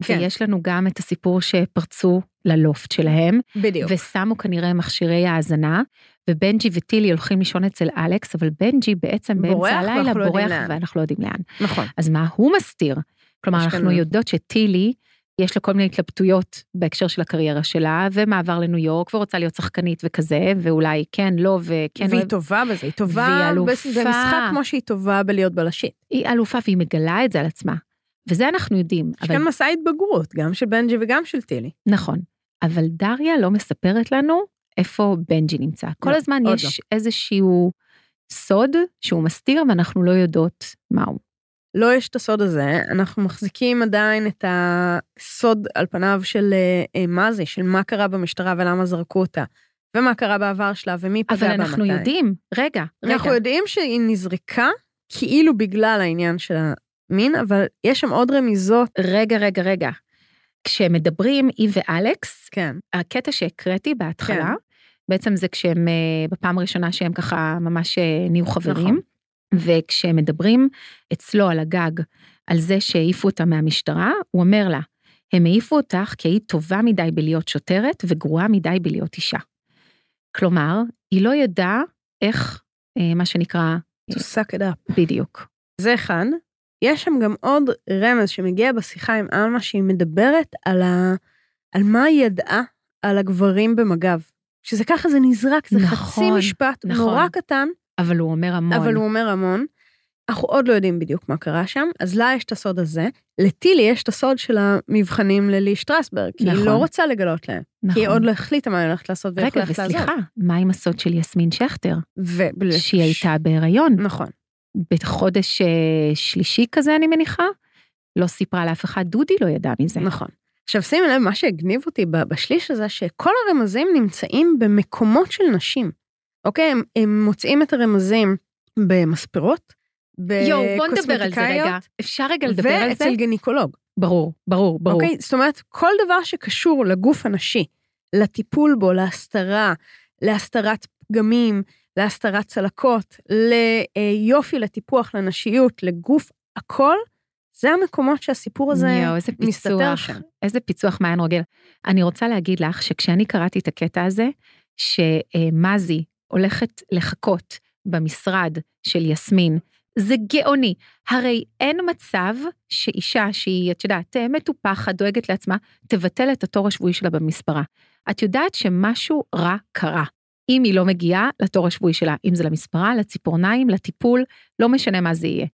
Speaker 3: כן.
Speaker 2: ויש לנו גם את הסיפור שפרצו ללופט שלהם,
Speaker 3: כן, בדיוק.
Speaker 2: ושמו כנראה מכשירי האזנה, ובנג'י וטילי הולכים לישון אצל אלכס, אבל בנג'י בעצם
Speaker 3: בורח,
Speaker 2: באמצע
Speaker 3: ואנחנו
Speaker 2: הלילה
Speaker 3: לא יודעים
Speaker 2: בורח,
Speaker 3: לאן.
Speaker 2: ואנחנו לא יודעים לאן.
Speaker 3: נכון.
Speaker 2: אז מה הוא מסתיר? כלומר,
Speaker 3: יש כאן-
Speaker 2: אנחנו יודעות שטילי, יש לה כל מיני התלבטויות בהקשר של הקריירה שלה, ומעבר לניו יורק, ורוצה להיות שחקנית וכזה, ואולי כן, לא, וכן,
Speaker 3: והיא
Speaker 2: אוהב-
Speaker 3: טובה בזה, היא טובה
Speaker 2: והיא אלופה.
Speaker 3: בס- במשחק כמו שהיא טובה בלהיות בלשית.
Speaker 2: היא אלופה והיא מגלה את זה על עצמה. וזה אנחנו יודעים,
Speaker 3: יש
Speaker 2: אבל
Speaker 3: כאן מסע התבגרות, גם של בנג'י וגם של טילי.
Speaker 2: נכון. אבל דריה לא מספרת לנו איפה בנג'י נמצא. כל
Speaker 3: לא,
Speaker 2: הזמן
Speaker 3: עוד
Speaker 2: יש איזשהו סוד שהוא מסתיר ואנחנו לא יודעות מהו.
Speaker 3: לא יש את הסוד הזה, אנחנו מחזיקים עדיין את הסוד על פניו של אה, אה, מה זה, של מה קרה במשטרה ולמה זרקו אותה, ומה קרה בעבר שלה ומי פגע בה
Speaker 2: אבל
Speaker 3: מתי.
Speaker 2: אנחנו יודעים, רגע, רגע,
Speaker 3: אנחנו יודעים שהיא נזרקה כאילו בגלל העניין של המין, אבל יש שם עוד רמיזות.
Speaker 2: רגע, רגע, רגע. כשהם מדברים, היא ואלכס,
Speaker 3: כן.
Speaker 2: הקטע שהקראתי בהתחלה,
Speaker 3: כן.
Speaker 2: בעצם זה כשהם, אה, בפעם הראשונה שהם ככה ממש אה, נהיו חברים,
Speaker 3: נכון.
Speaker 2: וכשהם מדברים אצלו על הגג, על זה שהעיפו אותה מהמשטרה, הוא אומר לה, הם העיפו אותך כי היית טובה מדי בלהיות שוטרת וגרועה מדי בלהיות אישה. כלומר, היא לא ידעה איך, אה, מה שנקרא,
Speaker 3: To suck it up.
Speaker 2: בדיוק.
Speaker 3: זה אחד. יש שם גם עוד רמז שמגיע בשיחה עם עלמה, שהיא מדברת על, ה... על מה היא ידעה על הגברים במג"ב, שזה ככה זה נזרק, זה חצי
Speaker 2: נכון,
Speaker 3: משפט
Speaker 2: נכון.
Speaker 3: נורא קטן,
Speaker 2: אבל הוא אומר המון.
Speaker 3: אבל הוא אומר המון. אנחנו עוד לא יודעים בדיוק מה קרה שם, אז לה יש את הסוד הזה, לטילי יש את הסוד של המבחנים ללי שטרסברג, כי
Speaker 2: נכון.
Speaker 3: היא לא רוצה לגלות להם,
Speaker 2: נכון.
Speaker 3: כי היא עוד לא החליטה מה היא הולכת לעשות ואיך
Speaker 2: רגע,
Speaker 3: היא הולכת לעזוב.
Speaker 2: וסליחה, מה עם הסוד של יסמין שכטר?
Speaker 3: ו-
Speaker 2: שהיא הייתה בהיריון.
Speaker 3: נכון.
Speaker 2: בחודש אה, שלישי כזה, אני מניחה. לא סיפרה לאף אחד, דודי לא ידע מזה.
Speaker 3: נכון. עכשיו שימי לב, מה שהגניב אותי ב- בשליש הזה, שכל הרמזים נמצאים במקומות של נשים. אוקיי? הם, הם מוצאים את הרמזים במספרות, בקוסמטיקאיות,
Speaker 2: יואו, בוא נדבר על זה רגע. אפשר רגע לדבר על זה?
Speaker 3: אה, ואצל גינקולוג.
Speaker 2: ברור, ברור, ברור.
Speaker 3: אוקיי? זאת אומרת, כל דבר שקשור לגוף הנשי, לטיפול בו, להסתרה, להסתרת פגמים, להסתרת צלקות, ליופי, לטיפוח, לנשיות, לגוף, הכל, זה המקומות שהסיפור הזה...
Speaker 2: יואו, איזה
Speaker 3: מסתתר
Speaker 2: פיצוח,
Speaker 3: שם.
Speaker 2: איזה פיצוח מעיין רוגל. אני רוצה להגיד לך שכשאני קראתי את הקטע הזה, שמזי הולכת לחכות במשרד של יסמין, זה גאוני. הרי אין מצב שאישה שהיא, את יודעת, אה, מטופחת, דואגת לעצמה, תבטל את התור השבועי שלה במספרה. את יודעת שמשהו רע קרה. אם היא לא מגיעה לתור השבועי שלה, אם זה למספרה, לציפורניים, לטיפול, לא משנה מה זה יהיה.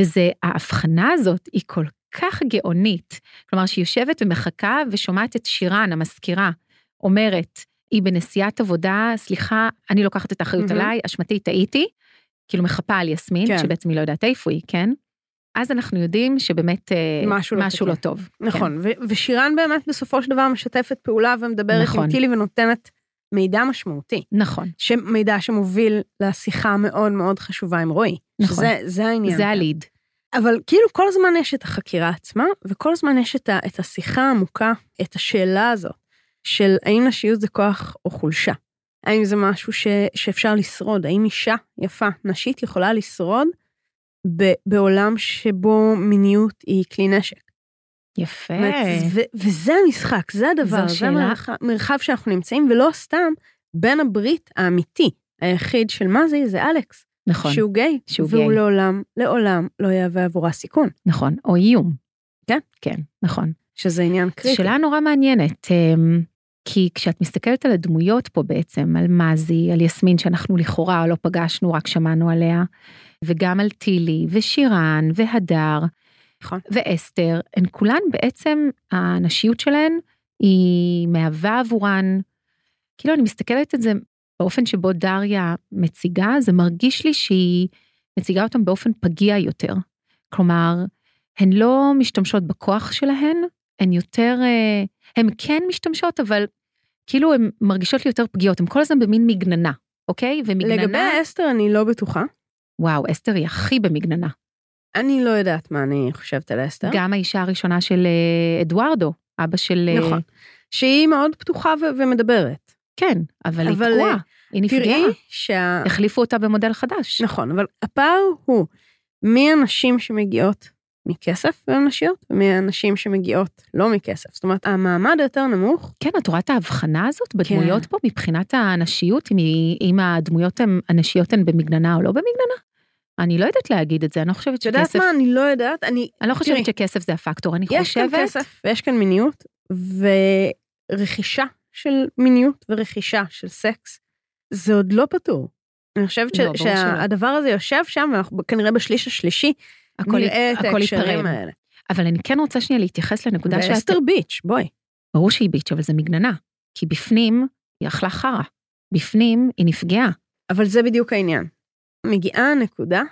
Speaker 2: וזה, ההבחנה הזאת היא כל כך גאונית. כלומר, שהיא יושבת ומחכה ושומעת את שירן, המזכירה, אומרת, היא בנסיעת עבודה, סליחה, אני לוקחת את האחריות
Speaker 3: מהמם.
Speaker 2: עליי, אשמתי, טעיתי, כאילו מחפה על יסמין,
Speaker 3: כן.
Speaker 2: שבעצם היא לא יודעת איפה היא, כן? אז אנחנו יודעים שבאמת אה,
Speaker 3: משהו לא
Speaker 2: משהו לא טוב.
Speaker 3: נכון, ו- ושירן באמת בסופו של דבר משתפת פעולה ומדברת
Speaker 2: נכון.
Speaker 3: עם טילי ונותנת מידע משמעותי,
Speaker 2: כן. נכון.
Speaker 3: ש- מידע שמוביל לשיחה המאוד מאוד חשובה עם רועי.
Speaker 2: נכון.
Speaker 3: שזה, זה העניין.
Speaker 2: זה הליד.
Speaker 3: אבל כאילו כל הזמן יש את החקירה עצמה, וכל הזמן יש את, ה- את השיחה העמוקה, את השאלה הזו, של האם נשיות זה כוח או חולשה. האם זה משהו ש- שאפשר לשרוד? האם אישה יפה, נשית, יכולה לשרוד ב- בעולם שבו מיניות היא כלי נשק?
Speaker 2: יפה.
Speaker 3: באמת, ו- וזה המשחק, זה הדבר,
Speaker 2: אה. זו
Speaker 3: זה
Speaker 2: שאלה.
Speaker 3: המרחב מרחב שאנחנו נמצאים, ולא סתם בן הברית האמיתי היחיד של מזי זה אלכס,
Speaker 2: נכון,
Speaker 3: שהוא גיי,
Speaker 2: שהוא
Speaker 3: והוא
Speaker 2: גיי.
Speaker 3: לעולם, לעולם לא יהווה עבורה סיכון,
Speaker 2: נכון. או איום.
Speaker 3: כן?
Speaker 2: כן, נכון.
Speaker 3: שזה עניין
Speaker 2: זו
Speaker 3: קריטי.
Speaker 2: שאלה נורא מעניינת, אמ, כי כשאת מסתכלת על הדמויות פה בעצם, על מזי, על יסמין, שאנחנו לכאורה לא פגשנו, רק שמענו עליה, וגם על טילי, ושירן, והדר,
Speaker 3: נכון.
Speaker 2: ואסתר, הן כולן בעצם, הנשיות שלהן היא מהווה עבורן, כאילו אני מסתכלת את זה באופן שבו דריה מציגה, זה מרגיש לי שהיא מציגה אותם באופן פגיע יותר. כלומר, הן לא משתמשות בכוח שלהן, הן יותר, אה, הן כן משתמשות, אבל כאילו הן מרגישות לי יותר פגיעות, הן כל הזמן במין מגננה, אוקיי? ומגננה,
Speaker 3: לגבי אסתר אני לא בטוחה,
Speaker 2: וואו, אסתר היא הכי במגננה.
Speaker 3: אני לא יודעת מה אני חושבת על אסתר.
Speaker 2: גם האישה הראשונה של אה, אדוארדו, אבא של... אה,
Speaker 3: נכון. שהיא מאוד פתוחה ו- ומדברת.
Speaker 2: כן, אבל היא
Speaker 3: אבל,
Speaker 2: תקועה,
Speaker 3: אה,
Speaker 2: היא נפגעה.
Speaker 3: תראי שה...
Speaker 2: החליפו אותה במודל חדש.
Speaker 3: נכון, אבל הפער הוא מי הנשים שמגיעות מכסף והן נשיות, ומי הנשים שמגיעות לא מכסף. זאת אומרת, המעמד היותר נמוך,
Speaker 2: כן, את רואה את ההבחנה הזאת
Speaker 3: כן.
Speaker 2: בדמויות פה מבחינת הנשיות, אם, היא- אם הדמויות הן, הנשיות הן במגננה או לא במגננה? אני לא יודעת להגיד את זה, אני לא חושבת
Speaker 3: את יודעת
Speaker 2: שכסף,
Speaker 3: מה? אני לא יודעת, אני...
Speaker 2: אני לא חושבת
Speaker 3: תראי,
Speaker 2: שכסף זה הפקטור, אני
Speaker 3: יש כאן
Speaker 2: חושבת,
Speaker 3: כסף ויש כאן מיניות, ורכישה של מיניות ורכישה של סקס, זה עוד לא פתור. אני חושבת ש-
Speaker 2: לא, ברור שלא.
Speaker 3: שהדבר הזה יושב שם, ואנחנו כנראה בשליש השלישי
Speaker 2: הכל,
Speaker 3: נראה את
Speaker 2: הכל
Speaker 3: ההקשרים
Speaker 2: ייפרם.
Speaker 3: האלה.
Speaker 2: אבל אני כן רוצה שנייה להתייחס לנקודה שאת,
Speaker 3: ואסתר ביץ', בואי.
Speaker 2: ברור שהיא ביץ', אבל זה מגננה, כי בפנים היא אכלה חרא, בפנים היא נפגעה.
Speaker 3: אבל זה בדיוק העניין. מגיעה הנקודה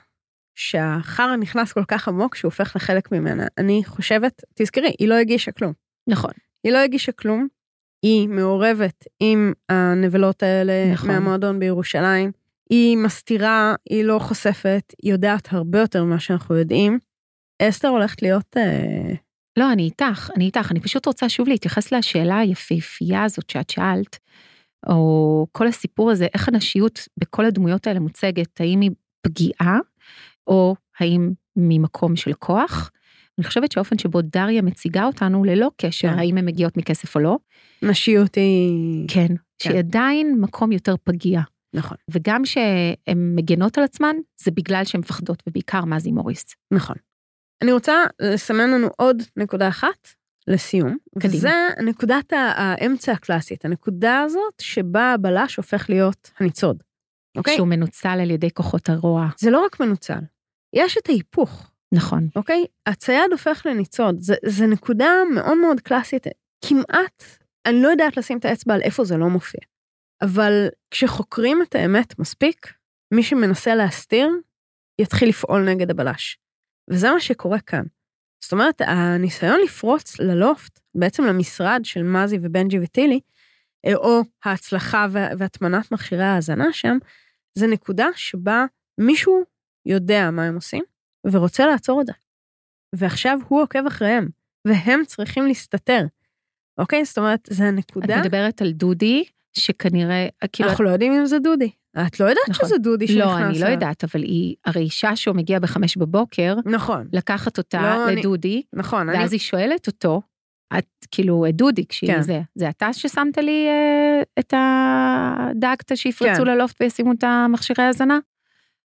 Speaker 3: שהחרא נכנס כל כך עמוק שהוא הופך לחלק ממנה. אני חושבת, תזכרי, היא לא הגישה כלום.
Speaker 2: נכון.
Speaker 3: היא לא הגישה כלום, היא מעורבת עם הנבלות האלה
Speaker 2: נכון.
Speaker 3: נכון. מהמועדון בירושלים, היא מסתירה, היא לא חושפת, היא יודעת הרבה יותר ממה שאנחנו יודעים. אסתר הולכת להיות... אה,
Speaker 2: לא, אני איתך, אני איתך. אני פשוט רוצה שוב להתייחס לשאלה היפהפייה הזאת שאת שאלת, או כל הסיפור הזה, איך הנשיות בכל הדמויות האלה מוצגת, האם היא פגיעה, או האם ממקום של כוח. אני חושבת שהאופן שבו דריה מציגה אותנו, ללא קשר
Speaker 3: כן.
Speaker 2: האם הן מגיעות מכסף או לא,
Speaker 3: נשיות היא...
Speaker 2: כן, שהיא עדיין מקום יותר פגיע.
Speaker 3: נכון,
Speaker 2: וגם שהן מגנות על עצמן, זה בגלל שהן מפחדות, ובעיקר מזי מוריס.
Speaker 3: נכון. אני רוצה לסמן לנו עוד נקודה אחת, לסיום.
Speaker 2: קדימה.
Speaker 3: וזה נקודת ה- האמצע הקלאסית, הנקודה הזאת שבה הבלש הופך להיות הניצוד. אוקיי?
Speaker 2: שהוא מנוצל על ידי כוחות הרוע.
Speaker 3: זה לא רק מנוצל, יש את ההיפוך.
Speaker 2: נכון.
Speaker 3: אוקיי? הצייד הופך לניצוד. זה, זה נקודה מאוד מאוד קלאסית. כמעט, אני לא יודעת לשים את האצבע על איפה זה לא מופיע. אבל כשחוקרים את האמת מספיק, מי שמנסה להסתיר, יתחיל לפעול נגד הבלש. וזה מה שקורה כאן. זאת אומרת, הניסיון לפרוץ ללופט, בעצם למשרד של מזי ובנג'י וטילי, אה, או ההצלחה וה- והטמנת מכשירי ההאזנה שם, זה נקודה שבה מישהו יודע מה הם עושים, ורוצה לעצור את זה. ועכשיו הוא עוקב אחריהם, והם צריכים להסתתר. אוקיי? זאת אומרת, זה
Speaker 2: את
Speaker 3: הנקודה.
Speaker 2: מדברת על דודי, שכנראה, כאילו,
Speaker 3: אנחנו לא יודעים אם זה דודי. את לא יודעת
Speaker 2: נכון.
Speaker 3: שזה דודי שנכנס.
Speaker 2: לא, אני לא
Speaker 3: לה.
Speaker 2: יודעת, אבל היא, הרי אישה שהוא מגיע בחמש בבוקר,
Speaker 3: נכון,
Speaker 2: לקחת אותה
Speaker 3: לא, אני-
Speaker 2: לדודי,
Speaker 3: נכון. אני-
Speaker 2: ואז היא שואלת אותו, את כאילו, את דודי, כשהיא
Speaker 3: כן.
Speaker 2: זה, זה אתה ששמת לי אה, את הדאגת שיפרצו
Speaker 3: כן.
Speaker 2: ללופט וישימו את המכשירי האזנה?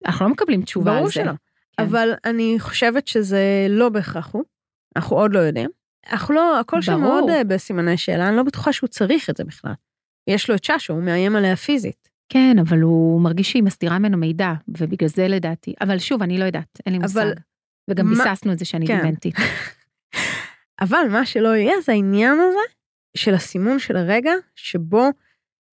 Speaker 2: אנחנו לא מקבלים תשובה על זה. כן.
Speaker 3: ברור שלא. אבל אני חושבת שזה לא בהכרח הוא. אנחנו עוד לא יודעים. אנחנו לא, הכל שם
Speaker 2: ברור.
Speaker 3: מאוד אה, בסימני שאלה, אני לא בטוחה שהוא צריך את זה בכלל. יש לו את ששו, הוא מאיים עליה פיזית.
Speaker 2: כן, אבל הוא מרגיש שהיא מסתירה ממנו מידע, ובגלל זה לדעתי. אבל שוב, אני לא יודעת, אין לי מושג.
Speaker 3: אבל-
Speaker 2: וגם
Speaker 3: מה-
Speaker 2: ביססנו את זה שאני
Speaker 3: כן.
Speaker 2: דימנטית.
Speaker 3: אבל מה שלא יהיה זה העניין הזה של הסימון של הרגע שבו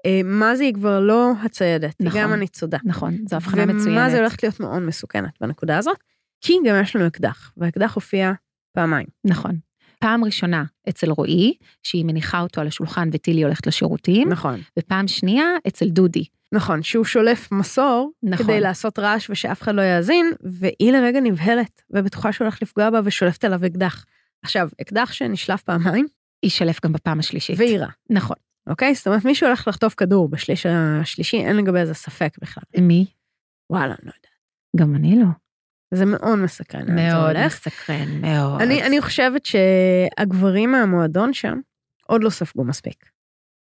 Speaker 3: אה, מה זה היא כבר לא הציידת,
Speaker 2: נכון.
Speaker 3: היא גם הניצודה.
Speaker 2: נכון, זו הבחנה
Speaker 3: ומה
Speaker 2: מצוינת.
Speaker 3: זה הולכת להיות מאוד מסוכנת בנקודה הזאת? כי גם יש לנו אקדח, והאקדח הופיע פעמיים.
Speaker 2: נכון. פעם ראשונה אצל רועי, שהיא מניחה אותו על השולחן וטילי הולכת לשירותים,
Speaker 3: נכון.
Speaker 2: ופעם שנייה אצל דודי.
Speaker 3: נכון, שהוא שולף מסור
Speaker 2: נכון.
Speaker 3: כדי לעשות רעש ושאף אחד לא יאזין, והיא לרגע נבהלת ובטוחה שהוא הולך לפגוע בה ושולפת עליו אקדח. עכשיו, אקדח שנשלף פעמיים,
Speaker 2: היא שלף גם בפעם השלישית.
Speaker 3: והיא רע,
Speaker 2: נכון.
Speaker 3: אוקיי? זאת אומרת, מישהו הולך לחטוף כדור בשליש השלישי, אין לגבי זה ספק בכלל.
Speaker 2: מי?
Speaker 3: וואלה, אני לא יודעת.
Speaker 2: גם אני לא.
Speaker 3: זה מאוד מסקרן. לאן זה
Speaker 2: מאוד
Speaker 3: הולך.
Speaker 2: מסקרן, מאוד.
Speaker 3: אני, אני חושבת שהגברים מהמועדון שם עוד לא ספגו מספיק.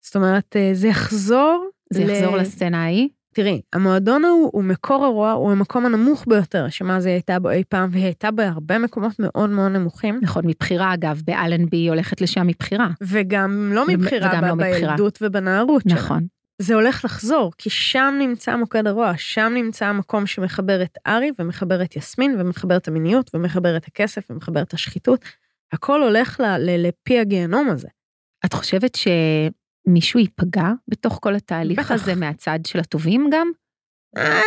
Speaker 3: זאת אומרת, אה, זה יחזור...
Speaker 2: זה יחזור לסצנה ההיא?
Speaker 3: תראי, המועדון ההוא הוא מקור הרוע, הוא המקום הנמוך ביותר שמאז היא הייתה בו אי פעם, והיא הייתה בהרבה מקומות מאוד מאוד נמוכים,
Speaker 2: נכון, מבחירה אגב, באלנבי היא הולכת לשם מבחירה.
Speaker 3: וגם לא
Speaker 2: ו-
Speaker 3: מבחירה
Speaker 2: וגם
Speaker 3: ב-
Speaker 2: לא מבחירה.
Speaker 3: בילדות ובנערות שלה.
Speaker 2: נכון.
Speaker 3: זה הולך לחזור, כי שם נמצא מוקד הרוע, שם נמצא המקום שמחבר את ארי ומחבר את יסמין ומחבר את המיניות ומחבר את הכסף ומחבר את השחיתות. הכל הולך ל- ל- לפי הגיהנום הזה.
Speaker 2: את חושבת שמישהו ייפגע בתוך כל התהליך
Speaker 3: בטח.
Speaker 2: הזה מהצד של הטובים גם?
Speaker 3: אה,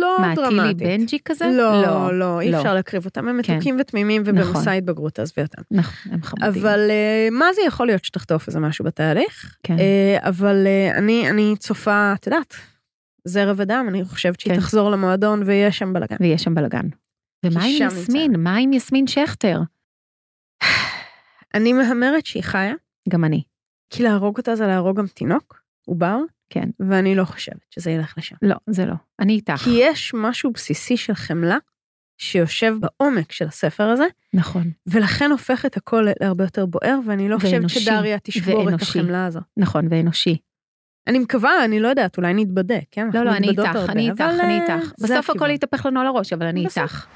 Speaker 3: לא
Speaker 2: מה,
Speaker 3: דרמטית.
Speaker 2: טילי בנג'י כזה?
Speaker 3: לא, לא, אי
Speaker 2: לא.
Speaker 3: אפשר להקריב אותם, הם
Speaker 2: כן.
Speaker 3: מתוקים ותמימים ובמסע
Speaker 2: נכון.
Speaker 3: ההתבגרות, תעזבי אותם.
Speaker 2: נכון, הם חמודים.
Speaker 3: אבל אה, מה זה יכול להיות שתחטוף איזה משהו בתהליך?
Speaker 2: כן.
Speaker 3: אה, אבל אה, אני, אני צופה, את יודעת, זרע ודם, אני חושבת שהיא
Speaker 2: כן.
Speaker 3: תחזור למועדון ויהיה שם בלאגן.
Speaker 2: ויש שם בלאגן. ומה עם
Speaker 3: שם נמצא.
Speaker 2: יסמין? מה עם יסמין שכטר?
Speaker 3: אני מהמרת שהיא חיה,
Speaker 2: גם אני,
Speaker 3: כי להרוג אותה זה להרוג גם תינוק, עובר,
Speaker 2: כן.
Speaker 3: ואני לא חושבת שזה ילך לשם.
Speaker 2: לא, זה לא. אני איתך.
Speaker 3: כי יש משהו בסיסי של חמלה שיושב בעומק של הספר הזה,
Speaker 2: נכון,
Speaker 3: ולכן הופך את הכל להרבה יותר בוער, ואני לא חושבת
Speaker 2: ואנושי,
Speaker 3: שדריה תשבור את
Speaker 2: ואנושי.
Speaker 3: החמלה הזו.
Speaker 2: נכון, ואנושי.
Speaker 3: אני מקווה, אני לא יודעת, אולי נתבדה, כן?
Speaker 2: לא,
Speaker 3: אנחנו
Speaker 2: לא, אני
Speaker 3: נתבדות
Speaker 2: איתך,
Speaker 3: הרבה,
Speaker 2: אני איתך,
Speaker 3: אבל,
Speaker 2: אני
Speaker 3: אה,
Speaker 2: איתך.
Speaker 3: זה
Speaker 2: בסוף הכל
Speaker 3: הכיוון.
Speaker 2: יתהפך לנו על הראש, אבל אני
Speaker 3: בסוף.
Speaker 2: איתך.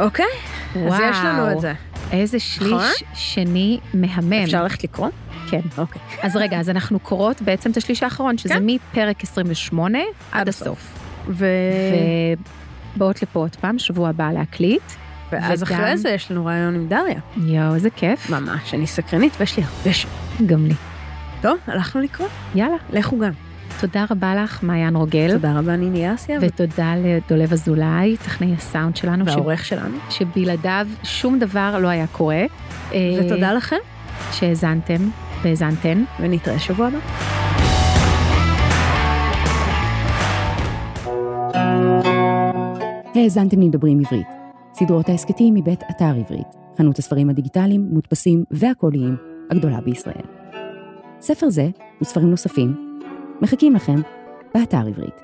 Speaker 3: אוקיי, אז יש לנו את זה.
Speaker 2: איזה שליש
Speaker 3: נכון?
Speaker 2: שני מהמם.
Speaker 3: אפשר ללכת לקרוא?
Speaker 2: כן.
Speaker 3: אוקיי.
Speaker 2: אז רגע, אז אנחנו קוראות בעצם את השליש האחרון, שזה
Speaker 3: כן.
Speaker 2: מפרק 28 עד הסוף.
Speaker 3: ו... אה.
Speaker 2: ובאות לפה עוד פעם, שבוע הבא להקליט.
Speaker 3: ואז
Speaker 2: וגם-
Speaker 3: אחרי זה יש לנו רעיון עם דריה.
Speaker 2: יואו, איזה כיף.
Speaker 3: ממש, אני סקרנית ויש לי הרבה ש...
Speaker 2: גם לי.
Speaker 3: טוב, הלכנו לקרוא,
Speaker 2: יאללה.
Speaker 3: לכו גם.
Speaker 2: תודה רבה לך, מעיין רוגל.
Speaker 3: תודה רבה, ניני אסיה,
Speaker 2: ותודה לדולב אזולאי, טכנאי הסאונד שלנו, ש...
Speaker 3: והעורך שלנו.
Speaker 2: שבלעדיו שום דבר לא היה קורה. אה,
Speaker 3: ותודה לכם,
Speaker 2: שהאזנתם והאזנתן.
Speaker 3: ונתראה שבוע הבא.
Speaker 1: האזנתם לדברים עברית. סדרות ההסכתים מבית אתר עברית, חנות הספרים הדיגיטליים, מודפסים והקוליים הגדולה בישראל. ספר זה וספרים נוספים מחכים לכם באתר עברית.